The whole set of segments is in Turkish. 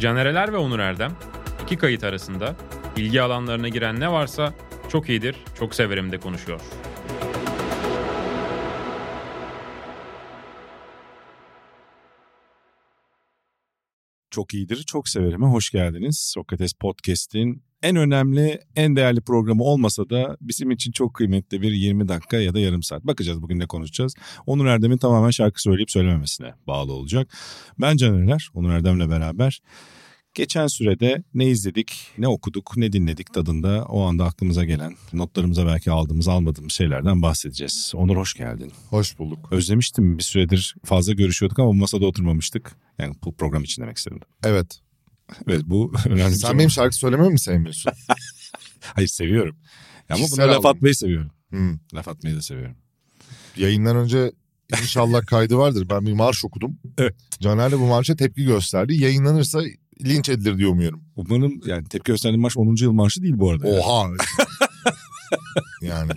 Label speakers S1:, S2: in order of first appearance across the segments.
S1: Canereler ve Onur Erdem iki kayıt arasında ilgi alanlarına giren ne varsa çok iyidir, çok severim de konuşuyor.
S2: Çok iyidir, çok severime hoş geldiniz. Sokrates Podcast'in en önemli, en değerli programı olmasa da bizim için çok kıymetli bir 20 dakika ya da yarım saat. Bakacağız bugün ne konuşacağız. Onur Erdem'in tamamen şarkı söyleyip söylememesine bağlı olacak. Ben Canerler, Onur Erdem'le beraber Geçen sürede ne izledik, ne okuduk, ne dinledik tadında o anda aklımıza gelen, notlarımıza belki aldığımız almadığımız şeylerden bahsedeceğiz. Onur hoş geldin.
S3: Hoş bulduk.
S2: Özlemiştim bir süredir fazla görüşüyorduk ama masada oturmamıştık. Yani bu program için demek istedim.
S3: Evet.
S2: Evet bu önemli bir
S3: Sen
S2: şey.
S3: benim şarkı söylememi mi sevmiyorsun?
S2: Hayır seviyorum. Ya ama buna
S3: Kişisel
S2: laf
S3: algı.
S2: atmayı seviyorum.
S3: Hmm.
S2: Laf atmayı da seviyorum.
S3: Yayından önce inşallah kaydı vardır. Ben bir marş okudum.
S2: Evet.
S3: Caner de bu marşa tepki gösterdi. Yayınlanırsa linç edilir diye umuyorum.
S2: Umarım yani tepki gösterdiğim marş 10. yıl marşı değil bu arada.
S3: Oha. yani.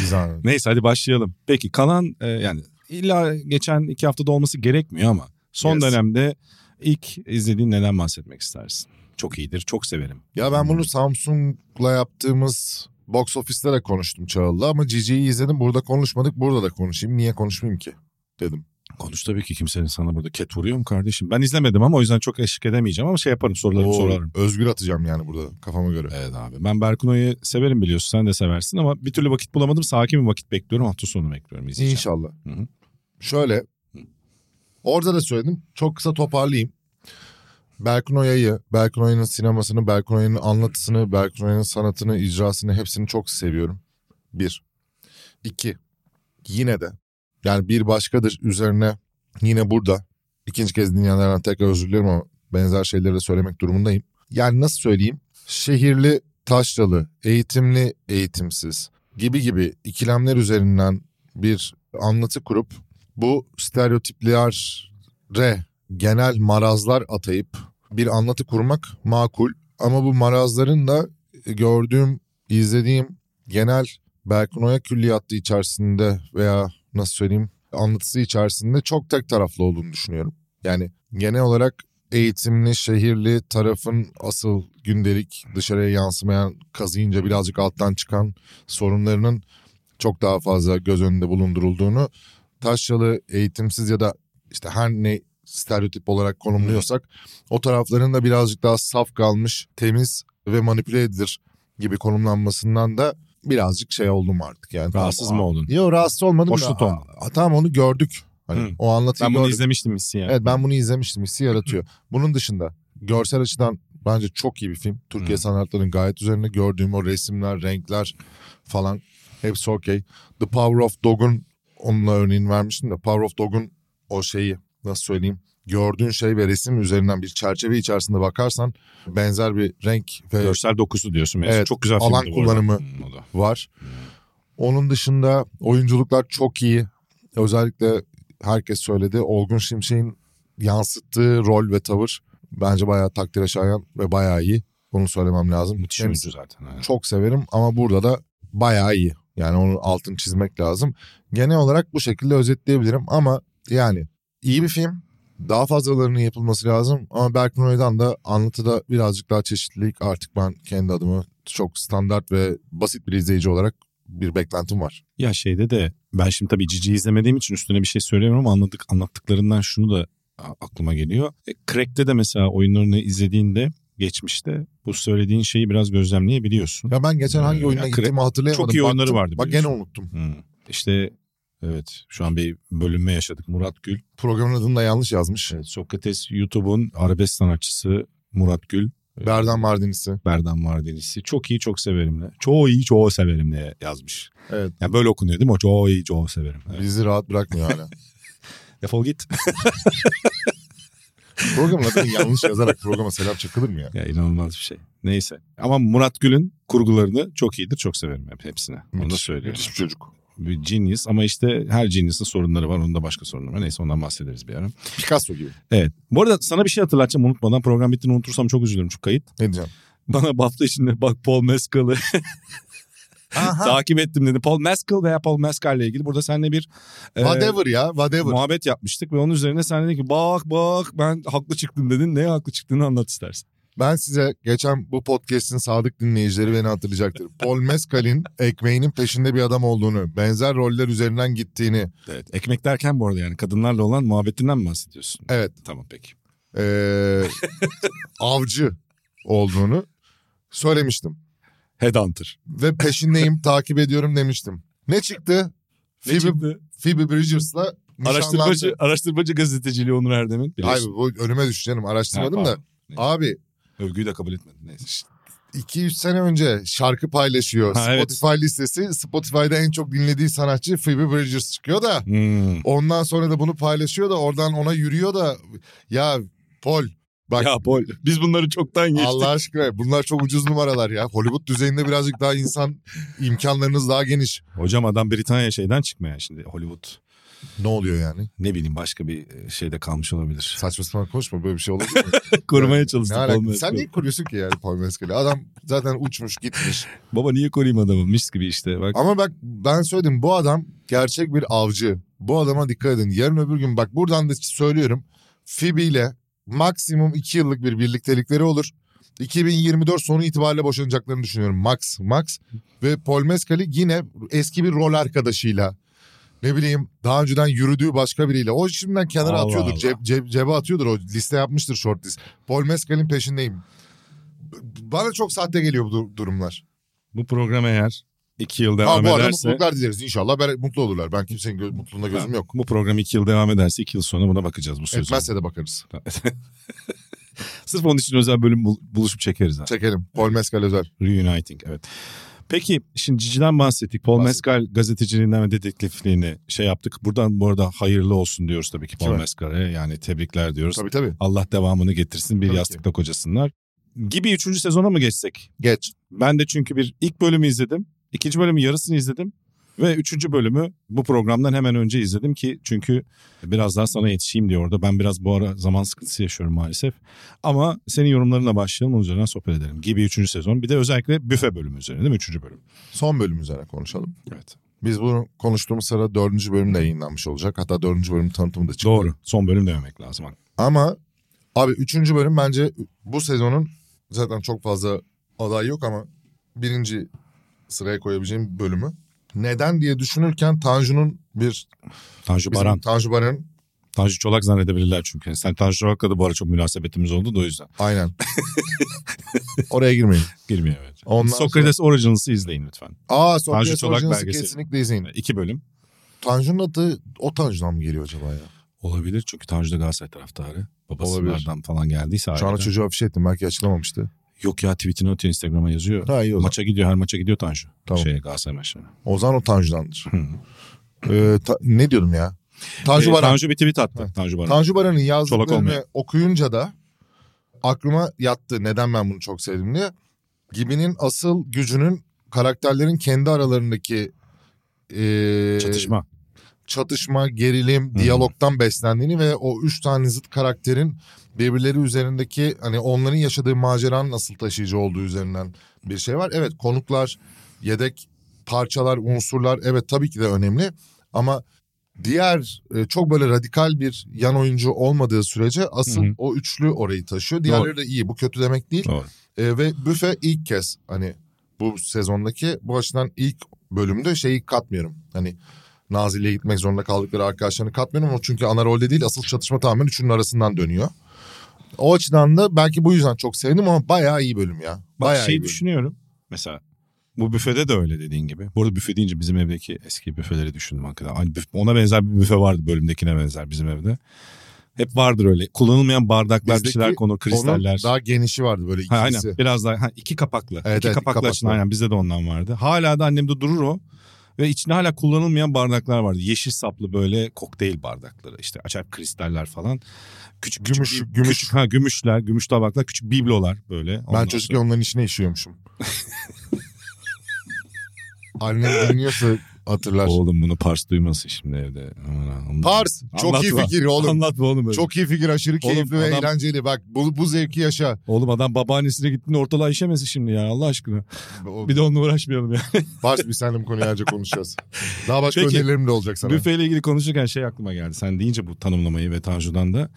S3: Güzel.
S2: Neyse hadi başlayalım. Peki kalan e, yani illa geçen iki haftada olması gerekmiyor ama son
S3: Yes.
S2: dönemde ilk izlediğin neden bahsetmek istersin? Çok iyidir, çok severim.
S3: Ya ben bunu Samsung'la yaptığımız box office'te de konuştum Çağıl'la ama Cici'yi izledim. Burada konuşmadık. Burada da konuşayım. Niye konuşmayayım ki? Dedim.
S2: Konuş tabii ki kimsenin sana burada ket vuruyor mu kardeşim? Ben izlemedim ama o yüzden çok eşlik edemeyeceğim ama şey yaparım sorularımı
S3: Oo,
S2: sorarım.
S3: Özgür atacağım yani burada kafama göre.
S2: Evet abi ben Berkuno'yu severim biliyorsun sen de seversin ama bir türlü vakit bulamadım. Sakin bir vakit bekliyorum hafta sonu bekliyorum izleyeceğim.
S3: İnşallah.
S2: Hı hı.
S3: Şöyle. Orada da söyledim. Çok kısa toparlayayım. Berkun Oya'yı, Berkun Oya'nın sinemasını, Berkun Oya'nın anlatısını, Berkun Oya'nın sanatını, icrasını hepsini çok seviyorum. Bir. İki. Yine de. Yani bir başkadır üzerine yine burada. ikinci kez dinleyenlerden tekrar özür dilerim ama benzer şeyleri de söylemek durumundayım. Yani nasıl söyleyeyim? Şehirli, taşralı, eğitimli, eğitimsiz gibi gibi ikilemler üzerinden bir anlatı kurup bu stereotiplere genel marazlar atayıp bir anlatı kurmak makul. Ama bu marazların da gördüğüm, izlediğim genel Berkun Oya külliyatı içerisinde veya nasıl söyleyeyim anlatısı içerisinde çok tek taraflı olduğunu düşünüyorum. Yani genel olarak eğitimli, şehirli tarafın asıl gündelik dışarıya yansımayan, kazıyınca birazcık alttan çıkan sorunlarının çok daha fazla göz önünde bulundurulduğunu taşralı, eğitimsiz ya da işte her ne stereotip olarak konumluyorsak o tarafların da birazcık daha saf kalmış, temiz ve manipüle edilir gibi konumlanmasından da birazcık şey oldum artık yani.
S2: Rahatsız mı oldun?
S3: Yok rahatsız olmadım
S2: Hoşnut
S3: da.
S2: olmadın.
S3: Ha, Tamam onu gördük. Hani
S2: Hı.
S3: o anlatıyı
S2: Ben bunu
S3: gördük.
S2: izlemiştim Missy yani.
S3: Evet ben bunu izlemiştim. Hissi yaratıyor. Bunun dışında görsel açıdan bence çok iyi bir film. Türkiye
S2: Hı.
S3: sanatlarının gayet üzerine gördüğüm o resimler, renkler falan hepsi okey. The Power of Dog'un onunla örneğini vermiştim de Power of Dog'un o şeyi nasıl söyleyeyim gördüğün şey ve resim üzerinden bir çerçeve içerisinde bakarsan benzer bir renk ve
S2: Görsel dokusu diyorsun. mesela.
S3: Evet,
S2: çok güzel
S3: alan
S2: filmdi bu arada.
S3: kullanımı.
S2: Hmm, o da.
S3: var. Onun dışında oyunculuklar çok iyi. Özellikle herkes söyledi. Olgun Şimşek'in yansıttığı rol ve tavır bence bayağı takdire şayan ve bayağı iyi. Onu söylemem lazım.
S2: Müthiş
S3: Hem
S2: oyuncu zaten. ha.
S3: çok severim ama burada da bayağı iyi. Yani onun altını çizmek lazım. Genel olarak bu şekilde özetleyebilirim ama yani iyi bir film. Daha fazlalarının yapılması lazım ama Berkman Oya'dan da anlatıda birazcık daha çeşitlilik artık ben kendi adımı çok standart ve basit bir izleyici olarak bir beklentim var.
S2: Ya şeyde de ben şimdi tabii Cici'yi izlemediğim için üstüne bir şey söylemiyorum ama anladık anlattıklarından şunu da a- aklıma geliyor. E, Crack'te de mesela oyunlarını izlediğinde geçmişte bu söylediğin şeyi biraz gözlemleyebiliyorsun.
S3: Ya ben geçen hangi
S2: Ee, Ya
S3: oyuna
S2: kre-
S3: gittiğimi hatırlayamadım.
S2: çok iyi oyunları
S3: Baktım,
S2: vardı
S3: Bak gene
S2: biliyorsun.
S3: unuttum.
S2: Hmm. İşte evet şu an bir bölünme yaşadık. Murat Gül,
S3: Programın adını da yanlış yazmış.
S2: evet, Sokrates YouTube'un arabesk sanatçısı Murat Gül. e,
S3: Berdan Mardinisi.
S2: Berdan Mardinisi. Çok iyi çok severimle. Çoğu iyi çoğu severim diye yazmış.
S3: Evet.
S2: Yani böyle okunuyor değil mi? O çoğu iyi çoğu severim. Evet.
S3: Bizi rahat bırakmıyor hala.
S2: Defol git.
S3: Programın adını yanlış yazarak programa selam çakılır mı ya?
S2: Ya inanılmaz bir şey. Neyse. Ama Murat Gül'ün kurgularını çok iyidir. Çok severim hep hepsine. Onu da
S3: Müthiş-
S2: söylüyorum.
S3: Müthiş bir çocuk.
S2: Bir genius ama işte her genius'ın sorunları var. Onun da başka sorunları var. Neyse ondan bahsederiz bir ara.
S3: Picasso gibi.
S2: Evet. Bu arada sana bir şey hatırlatacağım unutmadan. Program bittiğini unutursam çok üzülürüm çünkü kayıt.
S3: Ne diyeceğim?
S2: Bana bu hafta içinde bak Paul Mescal'ı
S3: Aha.
S2: takip ettim dedi. Paul Mescal veya Paul Mescal ile ilgili burada seninle bir e,
S3: Whatever ya whatever.
S2: muhabbet yapmıştık ve onun üzerine sen dedin ki bak bak ben haklı çıktım dedin. Neye haklı çıktığını anlat istersen.
S3: Ben size geçen bu podcast'in sadık dinleyicileri beni hatırlayacaktır. Paul Mescal'in ekmeğinin peşinde bir adam olduğunu, benzer roller üzerinden gittiğini,
S2: Evet ekmek derken bu arada yani kadınlarla olan muhabbetinden mi bahsediyorsun?
S3: Evet.
S2: Tamam peki.
S3: eee, ee, avcı olduğunu söylemiştim.
S2: Headhunter.
S3: Ve peşindeyim, takip ediyorum demiştim. Ne çıktı?
S2: Ne
S3: Phoebe,
S2: çıktı?
S3: Phoebe Bridgers'la
S2: Araştırmacı,
S3: nişanlandı.
S2: araştırmacı gazeteciliği Onur Erdem'in.
S3: Abi
S2: Biliyorsun.
S3: bu önüme düşünelim araştırmadım
S2: Ha,
S3: da.
S2: pardon.
S3: Abi
S2: Övgüyü de kabul etmedin neyse.
S3: 2-3 sene önce şarkı paylaşıyor.
S2: Ha, evet.
S3: Spotify listesi. Spotify'da en çok dinlediği sanatçı Phoebe Bridgers çıkıyor da.
S2: Hmm.
S3: Ondan sonra da bunu paylaşıyor da oradan ona yürüyor da ya Pol bak
S2: Ya Paul biz bunları çoktan geçtik.
S3: Allah aşkına bunlar çok ucuz numaralar ya. Hollywood düzeyinde birazcık daha insan imkanlarınız daha geniş.
S2: Hocam adam Britanya şeyden çıkmaya şimdi Hollywood.
S3: Ne oluyor yani?
S2: Ne bileyim başka bir e, şeyde kalmış olabilir.
S3: Saçma sapan konuşma böyle bir şey olur mu?
S2: Korumaya
S3: Ne
S2: çalıştık.
S3: alaka?
S2: olmadı.
S3: Sen niye koruyorsun ki yani Paul Mescal'i? Adam zaten uçmuş gitmiş.
S2: Baba niye koruyayım adamı? Mis gibi işte bak.
S3: Ama bak ben söyledim bu adam gerçek bir avcı. Bu adama dikkat edin. Yarın öbür gün bak buradan da söylüyorum. Phoebe ile maksimum 2 yıllık bir birliktelikleri olur. 2024 sonu itibariyle boşanacaklarını düşünüyorum. Max, Max ve Paul Mescal'i yine eski bir rol arkadaşıyla ne bileyim daha önceden yürüdüğü başka biriyle. O şimdiden kenara
S2: Allah
S3: atıyordur.
S2: Allah.
S3: Ceb, ceb- cebe atıyordur o liste yapmıştır short list. Paul Mescal'in peşindeyim. B- Bana çok sahte geliyor bu dur- durumlar.
S2: Bu program eğer iki yıl
S3: Ha
S2: devam
S3: bu arada
S2: ederse.
S3: mutluluklar dileriz. İnşallah ber- mutlu olurlar. Ben kimsenin gö- mutluluğuna gözüm yok.
S2: Bu program iki yıl devam ederse iki yıl sonra buna bakacağız bu sözü.
S3: Etmezse de bakarız.
S2: Sırf onun için özel bölüm bul- buluşup çekeriz. ha.
S3: Çekelim. Paul Mescal özel.
S2: Reuniting evet. Peki şimdi Cici'den bahsettik. Paul
S3: Bahsettik.
S2: Mescal gazeteciliğinden ve dedektifliğini şey yaptık. Buradan bu arada hayırlı olsun diyoruz tabii ki Paul
S3: Kime?
S2: Mescal'e. Yani tebrikler diyoruz.
S3: Tabii tabii.
S2: Allah devamını getirsin bir
S3: Tabii ki.
S2: yastıkta kocasınlar. Gibi 3. sezona mı geçsek?
S3: Geç.
S2: Ben de çünkü bir ilk bölümü izledim. ikinci bölümün yarısını izledim. Ve üçüncü bölümü bu programdan hemen önce izledim ki çünkü biraz daha sana yetişeyim diye orada. Ben biraz bu ara zaman sıkıntısı yaşıyorum maalesef. Ama senin yorumlarınla başlayalım onun üzerinden sohbet edelim. Gibi üçüncü sezon bir de özellikle büfe bölümü üzerine değil mi? Üçüncü bölüm.
S3: Son bölüm üzerine konuşalım.
S2: Evet.
S3: Biz bunu konuştuğumuz sırada dördüncü bölüm de yayınlanmış olacak. Hatta dördüncü bölüm tanıtımı da çıktı.
S2: Doğru. Son bölüm dememek lazım.
S3: Ama abi üçüncü bölüm bence bu sezonun zaten çok fazla aday yok ama birinci sıraya koyabileceğim bölümü. Neden diye düşünürken Tanju'nun bir...
S2: Tanju
S3: bizim
S2: Baran.
S3: Tanju Baran.
S2: Tanju Çolak zannedebilirler çünkü. Sen Tanju Çolak'la da bu ara çok münasebetimiz oldu da o yüzden.
S3: Aynen. Oraya girmeyin.
S2: Girmiyor evet.
S3: Ondan
S2: Sokrates Originals'ı izleyin lütfen.
S3: Aa Sokrates
S2: Tanju Çolak
S3: Origins'i
S2: belgeseli.
S3: kesinlikle izleyin.
S2: İki bölüm.
S3: Tanju'nun adı o Tanju'dan mı geliyor acaba ya?
S2: Olabilir çünkü Tanju da Galatasaray taraftarı. Babasından
S3: Olabilir.
S2: falan geldiyse
S3: Şu anda
S2: aileden.
S3: çocuğu afiş ettim belki açıklamamıştı.
S2: Yok ya tweetini atıyor Instagram'a yazıyor.
S3: Ha iyi o zaman.
S2: Maça gidiyor her maça gidiyor Tanju.
S3: Tamam.
S2: Şeye Galatasaray maçlarına.
S3: O zaman o Tanju'dandır.
S2: Hı.
S3: Ee, ta- ne diyordum ya? Tanju
S2: Ee,
S3: Baran.
S2: Tanju bir tweet attı. Tanju Baran.
S3: Tanju Baran'ın
S2: Çolak olmayan.
S3: yazdıklarını okuyunca da aklıma yattı neden ben bunu çok sevdim diye. Gibinin asıl gücünün karakterlerin kendi aralarındaki ee,
S2: Çatışma.
S3: çatışma, gerilim,
S2: Hı.
S3: diyalogtan beslendiğini ve o üç tane zıt karakterin birbirleri üzerindeki hani onların yaşadığı maceranın nasıl taşıyıcı olduğu üzerinden bir şey var. Evet konuklar, yedek parçalar, unsurlar evet tabii ki de önemli ama diğer e, çok böyle radikal bir yan oyuncu olmadığı sürece asıl
S2: Hı hı.
S3: o üçlü orayı taşıyor. Diğerleri de iyi bu kötü demek değil.
S2: Doğru.
S3: E, ve büfe ilk kez hani bu sezondaki bu açıdan ilk bölümde şeyi katmıyorum. Hani Nazilli'ye gitmek zorunda kaldıkları arkadaşlarını katmıyorum. O çünkü ana rolde değil asıl çatışma tamamen üçünün arasından dönüyor. O açıdan da belki bu yüzden çok sevdim ama bayağı iyi bölüm ya.
S2: Bak
S3: Bayağı iyi
S2: şey
S3: bölüm.
S2: düşünüyorum. Mesela bu büfede de öyle dediğin gibi. Bu arada büfe deyince bizim evdeki eski büfeleri düşündüm hakikaten. Hani büf- ona benzer bir büfe vardı bölümdekine benzer bizim evde. Hep vardır öyle. Kullanılmayan bardaklar, bir
S3: Bizdeki
S2: şeyler konur, kristaller.
S3: Onun daha genişi vardı böyle
S2: Ha, aynen
S3: ikisi.
S2: biraz daha ha, iki kapaklı.
S3: Evet,
S2: iki
S3: evet,
S2: kapaklı
S3: kapaklı.
S2: açın aynen bizde de ondan vardı. Hala da annemde durur o. Ve içinde hala kullanılmayan bardaklar vardı. Yeşil saplı böyle kokteyl bardakları işte açar kristaller falan. Küçük küçük
S3: Gümüş,
S2: bir-
S3: gümüş.
S2: küçük- ha gümüşler, gümüş tabaklar, küçük biblolar böyle. Ondan
S3: Ben çocukken
S2: sonra-
S3: onların içine işiyormuşum. Annem dinliyorsa Hatırlar.
S2: Oğlum bunu Pars duymasın şimdi evde. Aman ha, onu-
S3: Pars çok iyi
S2: Anlatma.
S3: fikir oğlum.
S2: Anlatma oğlum öyle.
S3: Çok iyi fikir aşırı
S2: Oğlum,
S3: keyifli ve
S2: adam-
S3: eğlenceli. Bak bu, bu zevki yaşa.
S2: Oğlum adam babaannesine gittiğinde ortalığa işemesin şimdi ya Allah aşkına.
S3: O-
S2: Bir de onunla uğraşmayalım ya.
S3: Pars bir seninle bu konuyu ayrıca konuşacağız. Daha başka
S2: Peki.
S3: önerilerim de olacak sana.
S2: Büfeyle ilgili konuşurken şey aklıma geldi. Sen deyince bu tanımlamayı ve Tanju'dan da.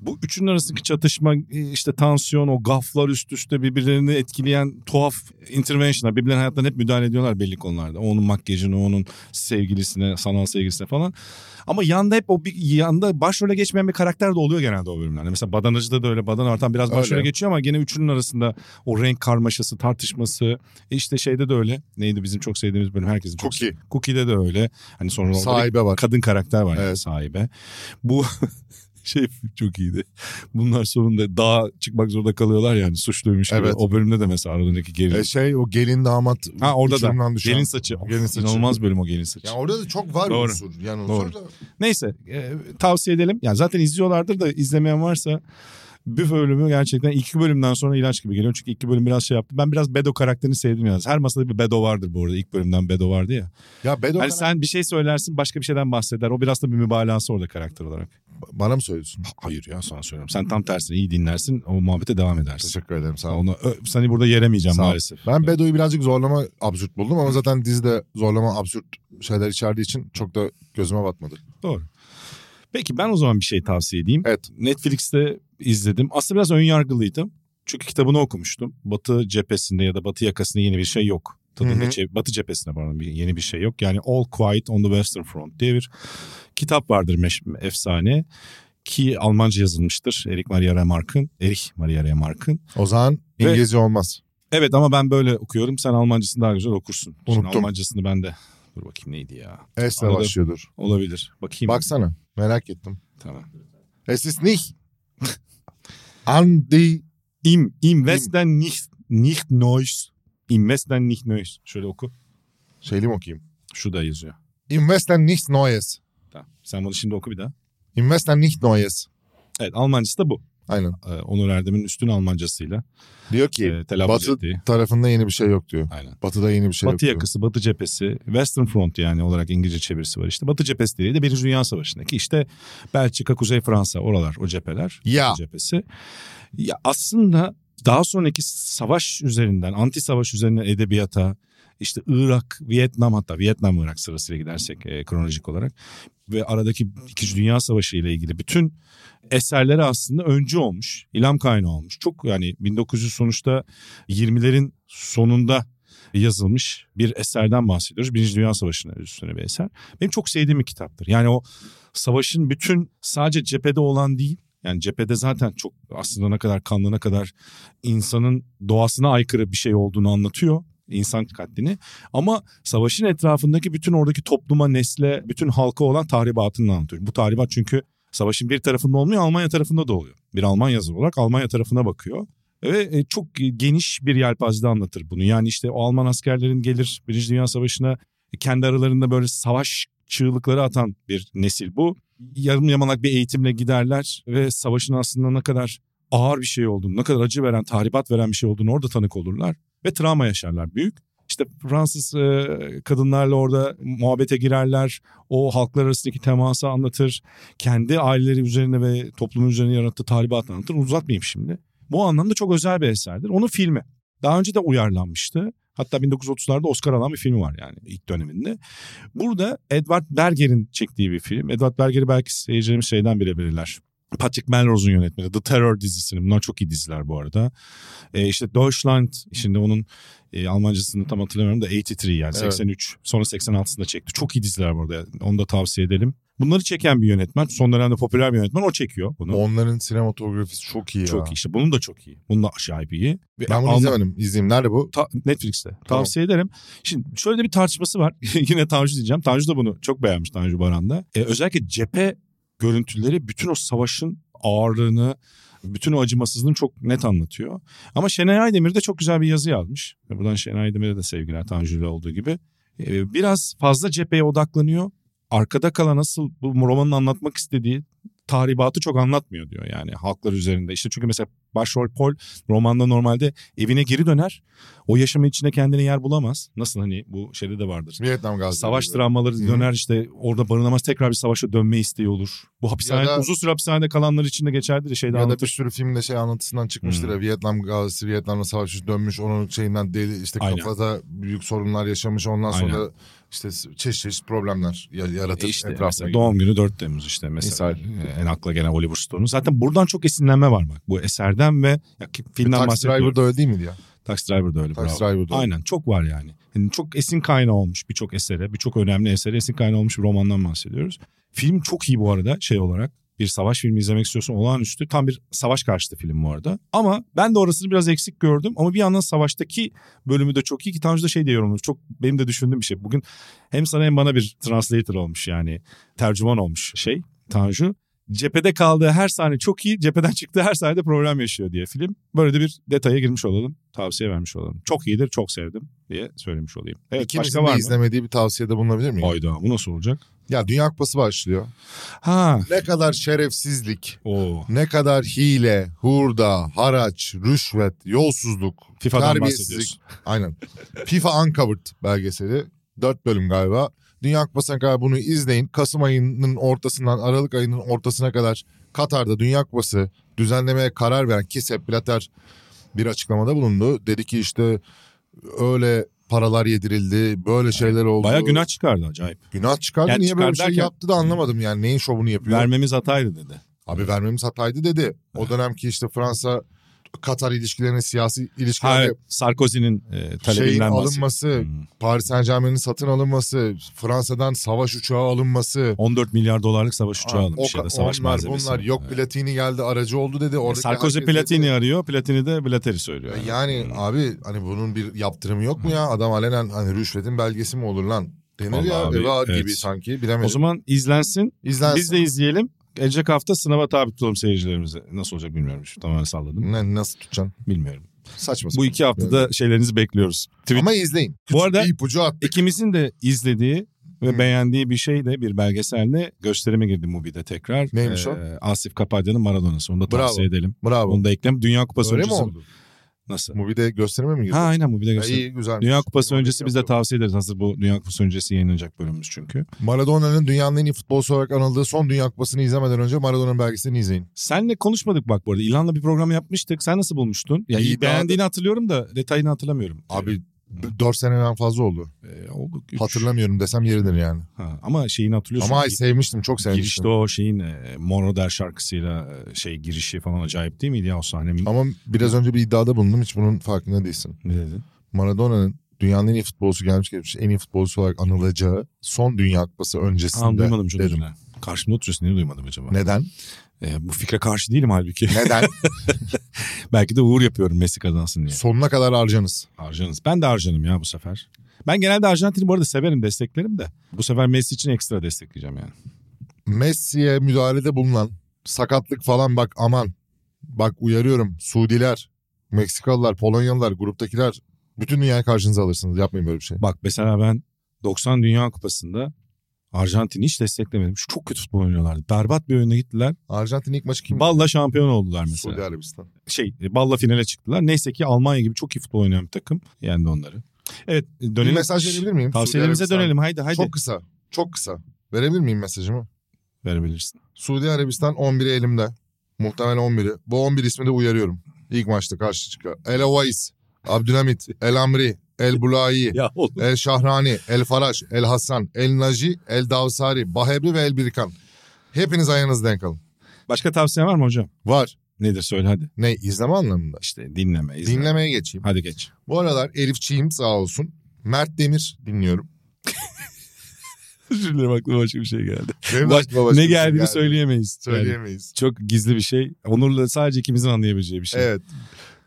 S2: Bu üçünün arasındaki çatışma e, işte tansiyon o gaflar üst üste birbirlerini etkileyen tuhaf intervention'a birbirlerinin hayatlarına hep müdahale ediyorlar belli konularda. Onun makyajını onun sevgilisine sanal sevgilisine falan. Ama yanda hep o bir yanda başrole geçmeyen bir karakter de oluyor genelde o bölümlerde. Mesela Badanacı'da da öyle Badan Artan biraz
S3: Öyle.
S2: başrole geçiyor ama gene üçünün arasında o renk karmaşası tartışması E işte şeyde de öyle. Neydi bizim çok sevdiğimiz bölüm herkesin çok
S3: Cookie.
S2: Cookie'de de öyle. Hani sonra orada bir
S3: Sahibe bak.
S2: kadın karakter var yani
S3: Evet.
S2: sahibe. Bu şey çok iyiydi. Bunlar sonunda dağa çıkmak zorunda kalıyorlar yani suçluymuş gibi.
S3: Evet.
S2: O bölümde de mesela aradaki gerilim.
S3: E şey o gelin damat
S2: Ha, orada da.
S3: uçurumdan düşen.
S2: gelin saçı.
S3: Gelin saçı.
S2: İnanılmaz bölüm o gelin saçı.
S3: Ya orada da çok var
S2: Doğru.
S3: unsur. Yani
S2: Doğru.
S3: unsur da
S2: Neyse e, tavsiye edelim. Yani zaten izliyorlardır da izlemeyen varsa büfe bölümü gerçekten iki bölümden sonra ilaç gibi geliyor. Çünkü iki bölüm biraz şey yaptı. Ben biraz Bedo karakterini sevdim yalnız. Her masada bir Bedo vardır bu arada. İlk bölümden Bedo vardı ya.
S3: Ya Bedo
S2: Hani sen bir şey söylersin başka bir şeyden bahseder. O biraz da bir mübalağası orada karakter olarak.
S3: bana mı söylüyorsun?
S2: Hayır ya sana söylüyorum. Sen tam tersine iyi dinlersin o muhabbete devam edersin.
S3: Teşekkür ederim sağ ol.
S2: Onu ö- seni burada yeremeyeceğim
S3: Sağ ol.
S2: maalesef.
S3: Ben Bedo'yu birazcık zorlama absürt buldum ama zaten dizide zorlama absürt şeyler içerdiği için çok da gözüme batmadı.
S2: Doğru. Peki ben o zaman bir şey tavsiye edeyim.
S3: Evet.
S2: Netflix'te izledim. Aslında biraz ön yargılıydım. Çünkü kitabını okumuştum. Batı cephesinde ya da Batı yakasında yeni bir şey yok. Tadında
S3: Hı hı.
S2: çe- Batı cephesinde pardon bir- yeni bir şey yok. Yani All Quiet on the Western Front diye bir kitap vardır meş- efsane. Ki Almanca yazılmıştır. Erich Maria Remark'ın. Erich Maria Remark'ın.
S3: O zaman
S2: Ve-
S3: İngilizce olmaz.
S2: Evet ama ben böyle okuyorum. Sen Almancasını daha güzel okursun. Şimdi
S3: Unuttum.
S2: Almancasını ben de... Dur bakayım neydi ya?
S3: S'le
S2: Anladım.
S3: başlıyordur.
S2: Olabilir. Bakayım.
S3: Baksana merak ettim.
S2: Tamam.
S3: Es ist nicht an die
S2: Im, im Westen nicht, nicht neues. Im Westen nicht neues. Şöyle oku.
S3: şeyli mi okuyayım?
S2: Şu da yazıyor.
S3: Im Westen nichts Neues.
S2: Tamam. Sen bunu şimdi oku bir daha.
S3: Im Westen nicht Neues.
S2: Evet Almancası da bu.
S3: Aynen.
S2: Ee, Onur Erdem'in üstün Almancasıyla
S3: Diyor ki
S2: e, telaffuz
S3: Batı
S2: ettiği.
S3: tarafında yeni bir şey yok diyor.
S2: Aynen.
S3: Batı'da yeni bir şey
S2: Batı
S3: yok diyor.
S2: yakası, Batı cephesi, Western Front yani olarak İngilizce çevirisi var işte. Batı cephesi dediği de Birinci Dünya Savaşı'ndaki işte Belçika, Kuzey Fransa oralar o cepheler.
S3: Ya
S2: cephesi. Ya aslında daha sonraki savaş üzerinden, anti savaş üzerinden edebiyata, işte Irak, Vietnam hatta Vietnam Irak sırasıyla gidersek e, kronolojik olarak ve aradaki İkinci Dünya Savaşı ile ilgili bütün eserleri aslında öncü olmuş, ilham kaynağı olmuş. Çok yani 1900 sonuçta 20'lerin sonunda yazılmış bir eserden bahsediyoruz. Birinci Dünya Savaşı'nın üstüne bir eser. Benim çok sevdiğim bir kitaptır. Yani o savaşın bütün sadece cephede olan değil, yani cephede zaten çok aslında ne kadar kanlı ne kadar insanın doğasına aykırı bir şey olduğunu anlatıyor insan katlini. Ama savaşın etrafındaki bütün oradaki topluma, nesle, bütün halka olan tahribatını anlatıyor. Bu tahribat çünkü savaşın bir tarafında olmuyor, Almanya tarafında da oluyor. Bir Alman yazarı olarak Almanya tarafına bakıyor. Ve e, çok geniş bir yelpazede anlatır bunu. Yani işte o Alman askerlerin gelir Birinci Dünya Savaşı'na kendi aralarında böyle savaş çığlıkları atan bir nesil bu. Yarım yamalak bir eğitimle giderler ve savaşın aslında ne kadar ağır bir şey olduğunu, ne kadar acı veren, tahribat veren bir şey olduğunu orada tanık olurlar ve travma yaşarlar büyük. İşte Fransız e, kadınlarla orada muhabbete girerler. O halklar arasındaki teması anlatır. Kendi aileleri üzerine ve toplumun üzerine yarattığı tahribatı anlatır. Uzatmayayım şimdi. Bu anlamda çok özel bir eserdir. Onun filmi. Daha önce de uyarlanmıştı. Hatta 1930'larda Oscar alan bir filmi var yani ilk döneminde. Burada Edward Berger'in çektiği bir film. Edward Berger'i belki seyircilerimiz şeyden bile bilirler. Patrick Melrose'un yönetmeni The Terror dizisini. Bunlar çok iyi diziler bu arada. E, işte Deutschland şimdi onun e, Almancasını tam hatırlamıyorum da 83 yani
S3: Evet.
S2: 83 sonra 86'sında çekti. Çok iyi diziler bu arada onu da tavsiye edelim. Bunları çeken bir yönetmen son dönemde popüler bir yönetmen o çekiyor bunu.
S3: onların sinematografisi çok iyi ya.
S2: Çok iyi işte bunun da çok iyi. Bunun da acayip iyi. Ve
S3: Ben bunu
S2: Alman-
S3: izlemedim. İzleyeyim. Nerede bu?
S2: Ta- Netflix'te. Tavsiye ederim. Şimdi şöyle de bir tartışması var. Yine Tanju diyeceğim. Tanju da bunu çok beğenmiş Tanju Baran da. E, özellikle cephe görüntüleri bütün o savaşın ağırlığını, bütün o acımasızlığını çok net anlatıyor. Ama Şenay Aydemir de çok güzel bir yazı yazmış. Ve Buradan Şenay Aydemir'e de sevgiler Tanju ile olduğu gibi. E, biraz fazla cepheye odaklanıyor. Arkada kalan asıl bu romanın anlatmak istediği tahribatı çok anlatmıyor diyor yani halklar üzerinde. İşte çünkü mesela Başrol Paul romanda normalde evine geri döner. O yaşamın içinde kendine yer bulamaz. Nasıl hani bu şeyde de vardır.
S3: Vietnam gazileri.
S2: Savaş
S3: böyle.
S2: travmaları
S3: Hı.
S2: döner işte orada barınamaz tekrar bir savaşa dönme isteği olur. Bu hapishane
S3: da-
S2: uzun süre hapishanede kalanlar için de geçerlidir. Şeyde
S3: Ya da
S2: anlatır.
S3: bir sürü filmde şey anlatısından çıkmıştır
S2: Hmm.
S3: ya Vietnam gazisi Vietnam'da savaşçı dönmüş onun şeyinden deli işte
S2: Aynen.
S3: kafada büyük sorunlar yaşamış ondan
S2: Aynen. E
S3: sonra işte çeşit çeşit problemler ya- yaratır
S2: İşte
S3: etrafına.
S2: mesela doğum günü 4 Temmuz işte mesela. Ee, En akla gelen Hollywood Stone'un. Zaten buradan çok esinlenme var bak. Bu eserden ve ya, ki- filmden
S3: Taxi
S2: bahsediyorum.
S3: E, Driver da öyle değil miydi ya?
S2: Taxi Driver da öyle. bravo.
S3: Taxi Driver da öyle.
S2: Aynen çok var yani. Yani çok esin kaynağı olmuş birçok esere, birçok önemli esere esin kaynağı olmuş bir romandan bahsediyoruz. Film çok iyi bu arada şey olarak. Bir savaş filmi izlemek istiyorsan olağanüstü. Tam bir savaş karşıtı film bu arada. Ama ben de orasını biraz eksik gördüm. Ama bir yandan savaştaki bölümü de çok iyi ki Tanju da şey diye yorumlamış. Çok benim de düşündüğüm bir şey. Bugün hem sana hem bana bir translator olmuş yani. Tercüman olmuş şey Tanju. Cephede kaldığı her sahne çok iyi. Cepheden çıktığı her sahnede problem yaşıyor diye film. Böyle de bir detaya girmiş olalım. Tavsiye vermiş olalım. Çok iyidir, çok sevdim diye söylemiş olayım. Evet
S3: İkimizin
S2: başka var
S3: de
S2: mı?
S3: izlemediği bir tavsiyede bulunabilir miyim?
S2: Hayda bu nasıl olacak?
S3: Ya Dünya Kupası başlıyor.
S2: Ha.
S3: Ne kadar şerefsizlik,
S2: Oo.
S3: ne kadar hile, hurda, haraç, rüşvet, yolsuzluk,
S2: FIFA'dan
S3: terbiyesizlik.
S2: bahsediyorsun.
S3: Aynen. FIFA Uncovered belgeseli. 4 bölüm galiba. Dünya Kupası'na kadar bunu izleyin. Kasım ayının ortasından Aralık ayının ortasına kadar Katar'da Dünya Kupası düzenlemeye karar veren ki Sepp Blatter bir açıklamada bulundu. Dedi ki işte öyle paralar yedirildi, böyle şeyler oldu.
S2: Baya günah çıkardı acayip.
S3: Günah çıkardı.
S2: Yani
S3: Niye böyle
S2: çıkar
S3: bir şey
S2: derken-
S3: yaptı da anlamadım yani. Neyin şovunu yapıyor?
S2: Vermemiz hataydı dedi.
S3: Abi vermemiz hataydı dedi. O dönemki işte Fransa Katar ilişkilerine, siyasi
S2: Ha,
S3: ilişkilerine
S2: Sarkozy'nin e,
S3: şeyin
S2: talebinden bahsediyor.
S3: alınması,
S2: Hmm.
S3: Paris Saint Germain'in satın alınması, Fransa'dan savaş uçağı alınması.
S2: 14 milyar dolarlık savaş uçağı alınmış
S3: o-
S2: ya da savaş
S3: onlar,
S2: malzemesi.
S3: bunlar yok
S2: Evet.
S3: Platini geldi aracı oldu dedi. Oradaki
S2: Sarkozy
S3: herkes dedi-
S2: Platini arıyor. Platini de Blatter'i söylüyor.
S3: E Yani
S2: Hmm.
S3: abi hani bunun bir yaptırımı yok mu ya? Adam alenen hani rüşvetin belgesi mi olur lan? Denir
S2: Vallahi
S3: ya
S2: abi,
S3: eve ağır gibi
S2: evet.
S3: sanki bilemedim.
S2: O zaman izlensin.
S3: İzlensin.
S2: Biz de izleyelim. Gelecek hafta sınava tabi tutalım seyircilerimize. Nasıl olacak bilmiyorum. Şu tamamen salladım.
S3: Ne, nasıl tutacaksın?
S2: Bilmiyorum.
S3: Saçma
S2: Bu
S3: sapan.
S2: iki haftada şeylerinizi bekliyoruz. Tweet.
S3: Ama izleyin.
S2: Bu arada
S3: Bir ipucu at.
S2: ikimizin de izlediği ve
S3: Hı.
S2: beğendiği bir şey de bir belgeselde gösterime girdi Mubi'de tekrar. Ee,
S3: Neymiş o?
S2: Asif Kapadya'nın Maradona'sı. Onu da
S3: Bravo.
S2: tavsiye edelim.
S3: Bravo.
S2: Onu da eklem. Dünya Kupası
S3: Öyle mi
S2: öncesi.
S3: oldu?
S2: Nasıl?
S3: Movie'de gösterime mi girdi?
S2: Ha aynen Mubi'de
S3: Ya
S2: gösterim.
S3: iyi güzel.
S2: Dünya Kupası öncesi biz de tavsiye ederiz. Hazır bu Dünya Kupası öncesi yayınlanacak bölümümüz çünkü.
S3: Maradona'nın dünyanın en iyi futbolcusu olarak anıldığı son Dünya Kupası'nı izlemeden önce Maradona'nın belgeselini izleyin.
S2: Senle konuşmadık bak bu arada. İlan'la bir program yapmıştık. Sen nasıl bulmuştun? Ya
S3: İyi,
S2: beğendiğini hatırlıyorum da detayını hatırlamıyorum.
S3: Abi 4 seneden fazla oldu.
S2: Ee, oldu. üç.
S3: Hatırlamıyorum desem yeridir yani.
S2: Ha, ama şeyini hatırlıyorsun.
S3: Ama ay
S2: Gi-
S3: sevmiştim çok sevmiştim.
S2: girişte o şeyin e, Monoder şarkısıyla e, şey girişi falan acayip değil miydi ya o sahne?
S3: Ama biraz önce bir iddiada bulundum hiç bunun farkında değilsin.
S2: Ne dedin?
S3: Maradona'nın dünyanın en iyi futbolcusu gelmiş geçmiş en iyi futbolcusu olarak anılacağı son Dünya Kupası
S2: Aa,
S3: öncesinde.
S2: duymadım çok
S3: dedim.
S2: üzüle. Karşımda oturuyorsun niye duymadım acaba?
S3: Neden?
S2: E, bu fikre karşı değilim halbuki.
S3: Neden?
S2: Belki de uğur yapıyorum Messi kazansın diye.
S3: Sonuna kadar harcanız.
S2: Arjanız. Ben de Arjanım ya bu sefer. Ben genelde Arjantin'i bu arada severim desteklerim de. Bu sefer Messi için ekstra destekleyeceğim yani.
S3: Messi'ye müdahalede bulunan sakatlık falan bak aman. Bak uyarıyorum Suudiler, Meksikalılar, Polonyalılar, gruptakiler bütün dünyayı karşınıza alırsınız. Yapmayın böyle bir şey.
S2: Bak mesela ben 90 Dünya Kupası'nda Arjantin'i hiç desteklemedim. Şu çok kötü futbol oynuyorlardı. Berbat bir oyuna gittiler.
S3: Arjantin ilk maçı kim?
S2: Balla şampiyon oldular mesela.
S3: Suudi Arabistan.
S2: Şey, e, balla finale çıktılar. Neyse ki Almanya gibi çok iyi futbol oynayan bir takım yendi onları. Evet, e,
S3: Bir
S2: dönelim.
S3: mesaj verebilir miyim?
S2: Tavsiyelerimize
S3: Suudi Arabistan.
S2: dönelim. Haydi haydi.
S3: Çok kısa. Çok kısa. Verebilir miyim mesajımı?
S2: verebilirsin.
S3: Suudi Arabistan 11'i elimde. Muhtemelen 11'i. Bu 11 ismi de uyarıyorum. İlk maçta karşı çıkıyor. El Ovais, Abdülhamit, El Amri, El Bulayi,
S2: Ya oğlum.
S3: El Şahrani, El Faraj, El Hasan, El Naji, El Davsari, Bahebri ve El Birkan. Hepiniz ayağınızda denk alın.
S2: Başka tavsiyen var mı hocam?
S3: Var.
S2: Nedir söyle hadi.
S3: Ne izleme anlamında.
S2: İşte dinleme. izleme.
S3: Dinlemeye geçeyim.
S2: Hadi geç.
S3: Bu aralar Elifçiyim sağ olsun. Mert Demir dinliyorum.
S2: Özür dilerim aklıma başka bir şey geldi.
S3: Benim de
S2: Baş-
S3: aklıma başka
S2: ne
S3: bir şey
S2: geldiğini
S3: geldi.
S2: söyleyemeyiz. Yani
S3: Söyleyemeyiz.
S2: çok gizli bir şey. Onur'la sadece ikimizin anlayabileceği bir şey.
S3: Evet.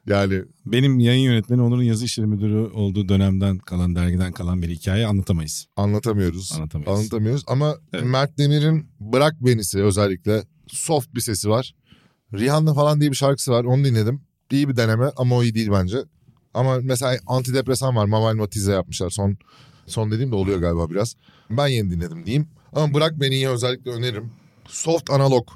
S3: Yani
S2: Benim yayın yönetmeni Onur'un yazı işleri müdürü olduğu dönemden kalan dergiden kalan bir hikaye anlatamayız.
S3: anlatamıyoruz.
S2: Anlatamayız.
S3: Anlatamıyoruz ama
S2: Evet.
S3: Mert Demir'in Bırak Beni'si özellikle soft bir sesi var. Rihanna falan diye bir şarkısı var onu dinledim. İyi bir deneme ama o iyi değil bence. Ama mesela antidepresan var Mamal Matize yapmışlar son son dediğim de oluyor galiba biraz. Ben yeni dinledim diyeyim. Ama Bırak Beni'yi özellikle öneririm. Soft analog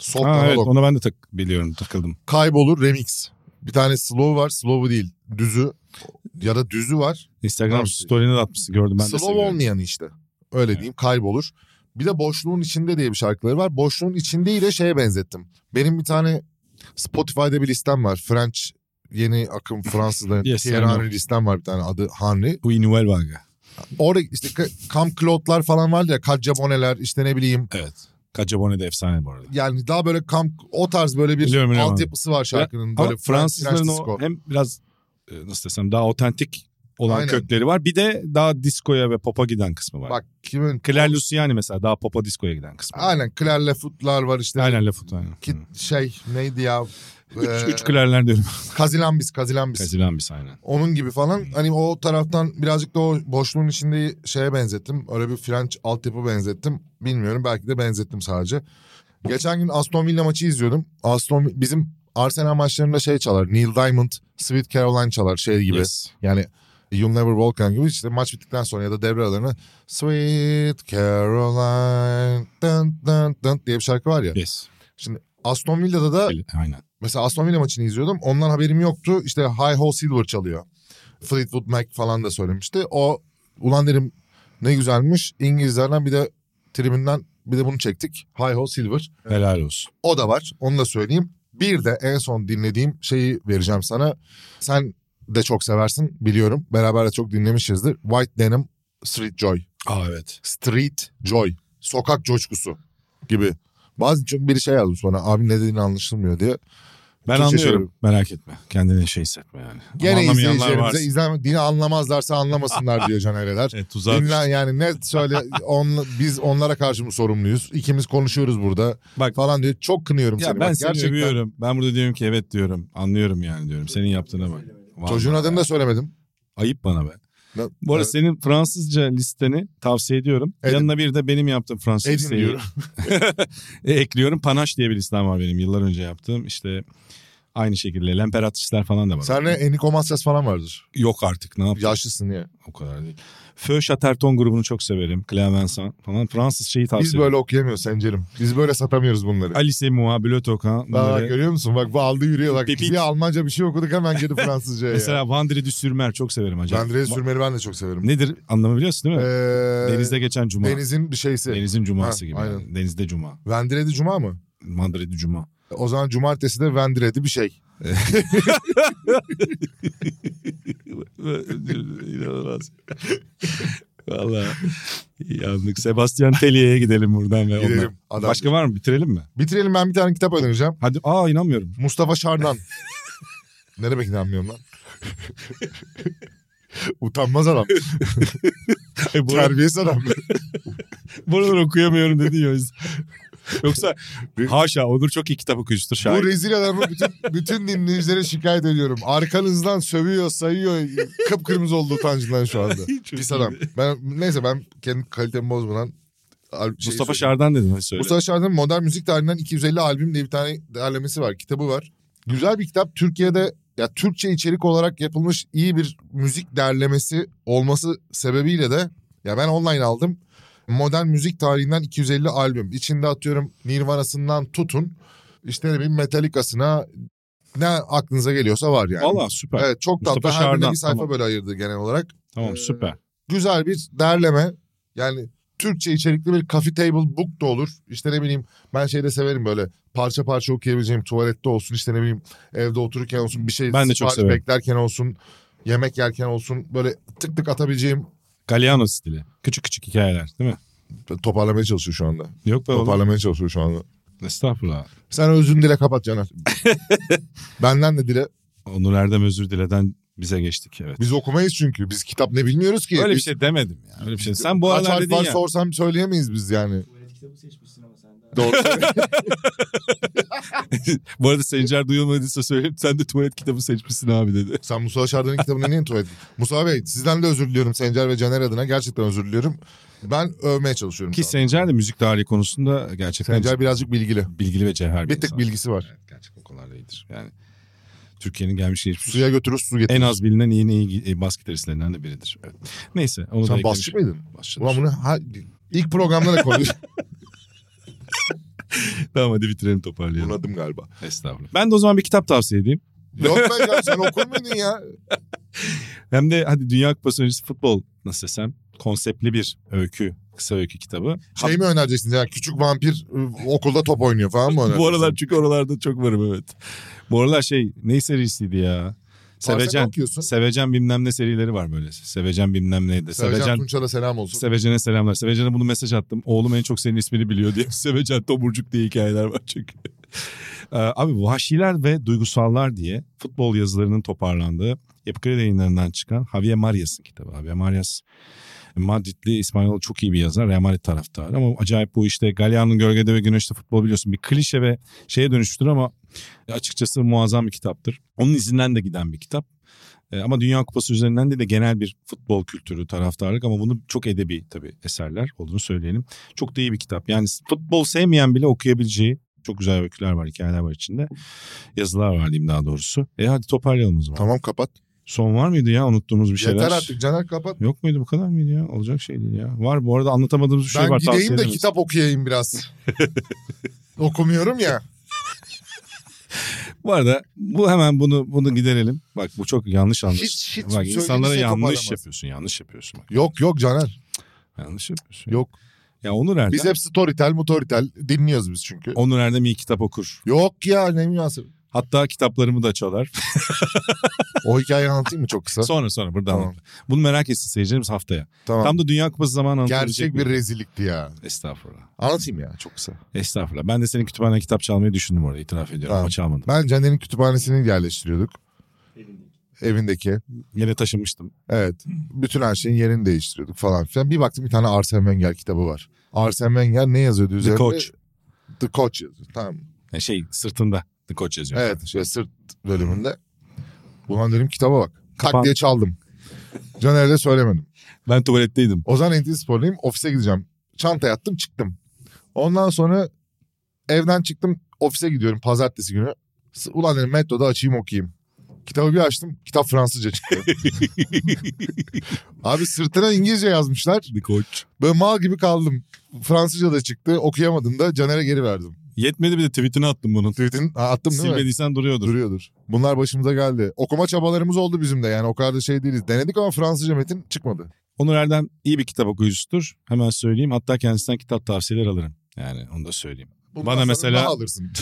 S3: Soft
S2: Ha, evet,
S3: analog.
S2: ona ben de tak biliyorum takıldım.
S3: Kaybolur remix. Bir tane slow var. Slow'u değil. Düzü ya da düzü var.
S2: Instagram
S3: Tamam.
S2: story'ine de atmışsın gördüm ben de
S3: slow
S2: seviyorum.
S3: olmayanı işte. Öyle diyeyim kaybolur. Bir de boşluğun içinde diye bir şarkıları var. Boşluğun içindeyi de şeye benzettim. Benim bir tane Spotify'da bir listem var. French yeni akım Fransızların
S2: Yes, I
S3: Thierry
S2: know.
S3: Henry listem var bir tane adı Henry.
S2: Bu Inuel Vaga.
S3: Orada işte ka- Camp Claude'lar falan vardı ya. Kacaboneler işte ne bileyim.
S2: Evet. Cacabone de efsane bu arada.
S3: Yani daha böyle kamp o tarz böyle bir
S2: Biliyorum, biliyorum.
S3: altyapısı var şarkının.
S2: Ama
S3: böyle
S2: Fransızların
S3: French
S2: o
S3: disco.
S2: hem biraz e, nasıl desem daha otantik olan
S3: Aynen.
S2: kökleri var. Bir de daha diskoya ve popa giden kısmı var. Bak,
S3: Bak kimin?
S2: Claire Luciani mesela daha popa diskoya giden kısmı. var.
S3: Aynen Claire Lefoot'lar var işte.
S2: Aynen Lafut aynen.
S3: Ki,
S2: Hı.
S3: şey neydi ya? Ee,
S2: Üç, üç klerler diyorum.
S3: Kazilambis, Kazilambis.
S2: Kazilan biz aynen.
S3: Onun gibi falan
S2: Hmm.
S3: hani o taraftan birazcık da o boşluğun içinde şeye benzettim. Öyle bir French altyapı benzettim. Bilmiyorum belki de benzettim sadece. Geçen gün Aston Villa maçı izliyordum. Aston bizim Arsenal maçlarında şey çalar. Neil Diamond, Sweet Caroline çalar şey gibi.
S2: Yes.
S3: Yani You'll Never Walk Alone gibi işte maç bittikten sonra ya da devre aralarına Sweet Caroline dın dın dın diye bir şarkı var ya.
S2: Yes.
S3: Aston Villa'da da
S2: Bil- Aynen.
S3: mesela Aston Villa maçını izliyordum. Ondan haberim yoktu. İşte High Hole Silver çalıyor. Fleetwood Mac falan da söylemişti. O ulan dedim ne güzelmiş. İngilizlerden bir de tribünden bir de bunu çektik. High Hole Silver.
S2: Helal olsun.
S3: O da var. Onu da söyleyeyim. Bir de en son dinlediğim şeyi vereceğim sana. Sen de çok seversin biliyorum. Beraber de çok dinlemişizdir. White Denim Street Joy.
S2: Aa evet.
S3: Street Joy. Sokak coşkusu gibi. Bazı çünkü biri şey yazmış bana abi ne dediğini anlaşılmıyor diye.
S2: Ben
S3: Çok
S2: anlıyorum.
S3: şaşırıyorum.
S2: Merak etme. Kendini şey hissetme yani. Ama
S3: Gene
S2: anlamayanlar
S3: izleyicilerimize
S2: varsa-
S3: izlem dini anlamazlarsa anlamasınlar diyor Canereler.
S2: Evet, tuzağa
S3: Dinlen yani ne söyle on, biz onlara karşı mı sorumluyuz? İkimiz konuşuyoruz burada
S2: Bak-
S3: falan diyor. Çok kınıyorum
S2: Ya
S3: seni.
S2: ben
S3: Bak,
S2: seni övüyorum. Ben burada diyorum ki evet diyorum. Anlıyorum yani diyorum. Senin yaptığına bak. Vallahi
S3: Çocuğun adını da söylemedim.
S2: Ayıp bana be.
S3: Ben-
S2: Bu arada
S3: Evet.
S2: senin Fransızca listeni tavsiye ediyorum.
S3: Edin.
S2: Yanına bir de benim yaptığım Fransız
S3: Edin
S2: listeyi
S3: diyorum.
S2: e, ekliyorum. Panaş diye bir listem var benim yıllar önce yaptığım. İşte aynı şekilde lemperatrisler falan da var.
S3: Senle Enrico Macias falan vardır.
S2: Yok artık ne yapayım
S3: Yaşlısın ya.
S2: o kadar değil. Feu Chaterton grubunu çok severim. Clemenceau falan. Fransız şeyi tavsiye
S3: Biz
S2: ediyorum.
S3: böyle okuyamıyoruz Sencer'im. Biz böyle satamıyoruz bunları.
S2: Alice Mua, Blötokan.
S3: Daha
S2: bunları-
S3: görüyor musun? Bak bu aldı yürüyor. Bak
S2: Pipit.
S3: bir Almanca bir şey okuduk hemen gidip Fransızca'ya. ya.
S2: Mesela Vandre du Sürmer çok severim acaba.
S3: Ben Reis Sürmer'i ben de çok severim.
S2: Nedir anlamı biliyorsun değil mi?
S3: Ee,
S2: Denizde geçen cuma.
S3: Denizin bir şeysi.
S2: Denizin cuması
S3: Ha,
S2: gibi.
S3: aynen.
S2: yani. Denizde cuma.
S3: Vendire'de Cuma mı?
S2: Mandredi cuma.
S3: O zaman cumartesi de Vendire'de bir şey.
S2: İnanılmaz. Valla yandık. Sebastian Telli'ye gidelim buradan ve ondan.
S3: Gidelim. Adam.
S2: E, Başka var mı? Bitirelim mi?
S3: Bitirelim ben bir tane kitap önereceğim.
S2: Hadi. Aa inanmıyorum.
S3: Mustafa Şardan. ne demek inanmıyorum lan? Utanmaz adam. Terbiyesiz adam.
S2: Buraları okuyamıyorum dedi ya. Yoksa haşa Onur çok iyi kitap okuyucudur
S3: Bu
S2: şair.
S3: rezil adamı bütün, bütün dinleyicilere şikayet ediyorum. Arkanızdan sövüyor, sayıyor. Kıpkırmızı oldu utancından şu anda.
S2: Çok
S3: Pis
S2: iyi.
S3: adam. Ben, neyse ben kendi kalitemi bozmadan... al- şey
S2: Mustafa
S3: söyleyeyim.
S2: Şardan dedin. Hadi söyle.
S3: Mustafa Şahin'in modern müzik tarihinden 250 albüm diye bir tane derlemesi var, kitabı var. Güzel bir kitap. Türkiye'de ya Türkçe içerik olarak yapılmış iyi bir müzik derlemesi olması sebebiyle de ya ben online aldım. Modern müzik tarihinden 250 albüm. İçinde atıyorum Nirvana'sından tutun işte bir Metallica'sına ne aklınıza geliyorsa var yani.
S2: Valla süper.
S3: Evet çok
S2: Mustafa
S3: tatlı. Her birine
S2: Şahin'den,
S3: bir sayfa
S2: tamam.
S3: böyle ayırdı genel olarak
S2: Tamam süper.
S3: güzel bir derleme. Yani Türkçe içerikli bir coffee table book da olur. İşte ne bileyim ben şeyde severim böyle parça parça okuyabileceğim tuvalette olsun işte ne bileyim evde otururken olsun bir şey
S2: Ben de çok
S3: sipariş
S2: severim.
S3: beklerken olsun yemek yerken olsun böyle tık tık atabileceğim
S2: Galliano stili. Küçük küçük hikayeler değil mi?
S3: toparlamaya çalışıyor şu anda.
S2: Yok be oğlum.
S3: Toparlamaya çalışıyor şu anda.
S2: Estağfurullah.
S3: Sen özün dile kapat Caner. Benden de dile.
S2: Onur Erdem özür dileden bize geçtik evet.
S3: Biz okumayız çünkü. Biz kitap ne bilmiyoruz ki.
S2: Öyle bir
S3: Biz-
S2: şey demedim ya. Öyle bir şey. Sen bu
S3: Kaç
S2: aralar
S3: harf
S2: dedin
S3: var
S2: ya.
S3: sorsam söyleyemeyiz biz yani.
S4: Tuvalet kitabı seçmişsin ama sen de.
S3: Doğru.
S2: Bu arada Sencer duyulmadıysa söyleyeyim. Sen de tuvalet kitabı seçmişsin abi dedi.
S3: Sen Musa Şardan'ın kitabını niye tuvalet? Musa Bey sizden de özür diliyorum Sencer ve Caner adına. Gerçekten özür diliyorum. Ben övmeye çalışıyorum.
S2: Ki
S3: şu an.
S2: Sencer de müzik tarihi konusunda gerçekten
S3: Sencer birazcık bilgili.
S2: bilgili ve cevher bir,
S3: Bir tık
S2: insan.
S3: bilgisi var.
S2: Evet, gerçekten o konularda iyidir. Yani Türkiye'nin gelmiş geçmiş
S3: Suya götürür su getirir.
S2: en az bilinen iyi iyi e, bas gitaristlerinden de biridir. Evet. Neyse onu da
S3: Sen
S2: eklemiş-
S3: basçı mıydın?
S2: Basçıdır.
S3: Ulan bunu ha- ilk programda da konuş.
S2: tamam hadi bitirelim toparlayalım.
S3: Bunadım galiba.
S2: Estağfurullah. Ben de o zaman bir kitap tavsiye edeyim.
S3: Yok be canım sen okur muydun ya?
S2: Hem de hadi Dünya Kupası öncesi futbol nasıl desem konseptli bir öykü, kısa öykü kitabı.
S3: Şey mi önereceksiniz ya küçük vampir e, okulda top oynuyor falan mı
S2: Bu aralar çünkü oralarda çok varım evet. Bu aralar şey ne serisiydi ya? Sevecen.
S3: okuyorsun.
S2: Sevecen bilmem ne serileri var böyle. Sevecen bilmem neydi.
S3: Sevecen,
S2: Sevecen
S3: Tunçal'a selam olsun.
S2: Sevecen'e selamlar. Sevecen'e bunu mesaj attım. Oğlum en çok senin ismini biliyor diye. Sevecen Tomurcuk diye hikayeler var çünkü. Ee, Abi Vahşiler ve Duygusallar diye futbol yazılarının toparlandığı Yapı Kredi yayınlarından çıkan Javier Marias'ın kitabı. Javier Marias Madridli İspanyol çok iyi bir yazar. Real Madrid taraftarı ama acayip bu işte Galeano'nun Gölgede ve Güneşte futbol biliyorsun bir klişe ve şeye dönüştür ama E, açıkçası muazzam bir kitaptır. Onun izinden de giden bir kitap. E, ama Dünya Kupası üzerinden de, de genel bir futbol kültürü, taraftarlık ama bunu çok edebi tabii eserler olduğunu söyleyelim. Çok da iyi bir kitap. Yani futbol sevmeyen bile okuyabileceği çok güzel öyküler var, hikayeler var içinde. Yazılar var diyeyim daha doğrusu. E hadi toparlayalım o zaman.
S3: Tamam kapat.
S2: Son var mıydı ya unuttuğumuz bir şeyler?
S3: Yeter artık Caner kapat.
S2: Yok muydu bu kadar mıydı ya? Olacak şey değil ya. Var bu arada anlatamadığımız bir şey
S3: ben
S2: var. tavsiye
S3: gideyim de
S2: ederiz.
S3: kitap okuyayım biraz. Okumuyorum ya.
S2: Bu arada bu hemen bunu bunu giderelim. Bak bu çok yanlış anlaş.
S3: Hiç- hiç
S2: Bak insanlara
S3: söylediğinize
S2: yanlış
S3: toparlamaz.
S2: yapıyorsun. Yanlış yapıyorsun bak.
S3: Yok yok Caner.
S2: Yanlış yapıyorsun.
S3: Yok.
S2: Ya Onur Erdem.
S3: Biz hep storytel mutoritel dinliyoruz biz çünkü.
S2: Onur Erdem iyi kitap okur.
S3: Yok ya ne münasebet.
S2: Hatta kitaplarımı da çalar.
S3: O hikayeyi anlatayım mı çok kısa?
S2: sonra sonra burada
S3: Tamam.
S2: anlatırım. Bunu merak etsin seyircilerimiz haftaya.
S3: Tamam.
S2: Tam da Dünya Kupası zamanı anlatabilecek
S3: Gerçek bir rezillikti ya.
S2: Estağfurullah.
S3: Anlatayım ya çok kısa.
S2: Estağfurullah. Ben de senin kütüphaneden kitap çalmayı düşündüm orada itiraf ediyorum
S3: Tamam.
S2: ama çalmadım.
S3: Ben Caner'in kütüphanesini yerleştiriyorduk. Evindeki.
S2: Yine taşınmıştım.
S3: Evet. Bütün her şeyin yerini değiştiriyorduk falan filan. Bir baktım bir tane Arsene Wenger kitabı var. Arsene Wenger ne yazıyordu üzerinde?
S2: Coach.
S3: The Coach yazıyor. Tamam.
S2: Yani şey sırtında The Koç yazıyor.
S3: Evet. Şey, sırt bölümünde. Ulan dedim kitaba bak.
S2: Kapan-
S3: Tak diye çaldım. Caner'e de söylemedim.
S2: Ben tuvaletteydim.
S3: Ozan NTV Spor'luyum. Ofise gideceğim. Çantaya attım çıktım. Ondan sonra evden çıktım. Ofise gidiyorum pazartesi günü. S- Ulan dedim metroda açayım okuyayım. Kitabı bir açtım. Kitap Fransızca çıktı. Abi sırtına İngilizce yazmışlar.
S2: The Koç.
S3: Böyle mal gibi kaldım. Fransızca da çıktı. Okuyamadım da Caner'e geri verdim.
S2: Yetmedi bir de tweetini attım bunun.
S3: Tweet'in ha, attım değil mi?
S2: Silmediysen duruyordur.
S3: Duruyordur. Bunlar başımıza geldi. Okuma çabalarımız oldu bizim de. Yani o kadar da şey değiliz. Denedik ama Fransızca metin çıkmadı.
S2: Onur Erdem iyi bir kitap okuyucusudur. Hemen söyleyeyim. Hatta kendisinden kitap tavsiyeleri alırım. Yani onu da söyleyeyim.
S3: Bundan
S2: Bana
S3: sonra
S2: mesela-
S3: ne alırsın?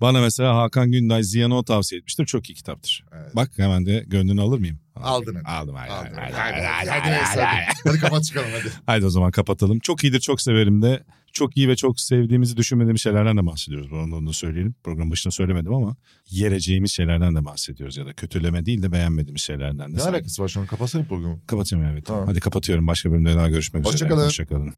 S2: Bana mesela Hakan Günday Ziyano tavsiye etmiştir. Çok iyi kitaptır.
S3: Evet.
S2: Bak hemen de gönlünü alır mıyım?
S3: Aldın hadi.
S2: Aldım. Haydi,
S3: Aldın.
S2: haydi,
S3: Hadi,
S2: haydi, haydi,
S3: hadi, hadi,
S2: haydi,
S3: hadi.
S2: haydi.
S3: Hadi kapat çıkalım hadi.
S2: Haydi o zaman kapatalım. Çok iyidir, çok severim de. Çok iyi ve çok sevdiğimizi düşünmediğimiz şeylerden de bahsediyoruz. Onu, onu da söyleyelim. Program başında söylemedim ama yereceğimiz şeylerden de bahsediyoruz. Ya da kötüleme değil de beğenmediğimiz şeylerden de.
S3: Ne alakası var şu an? Kapatsana programı.
S2: Kapatıyorum evet.
S3: Tamam.
S2: Hadi kapatıyorum. Başka bölümde daha görüşmek
S3: Hoşça
S2: üzere.
S3: kalın.
S2: Hoşçakalın.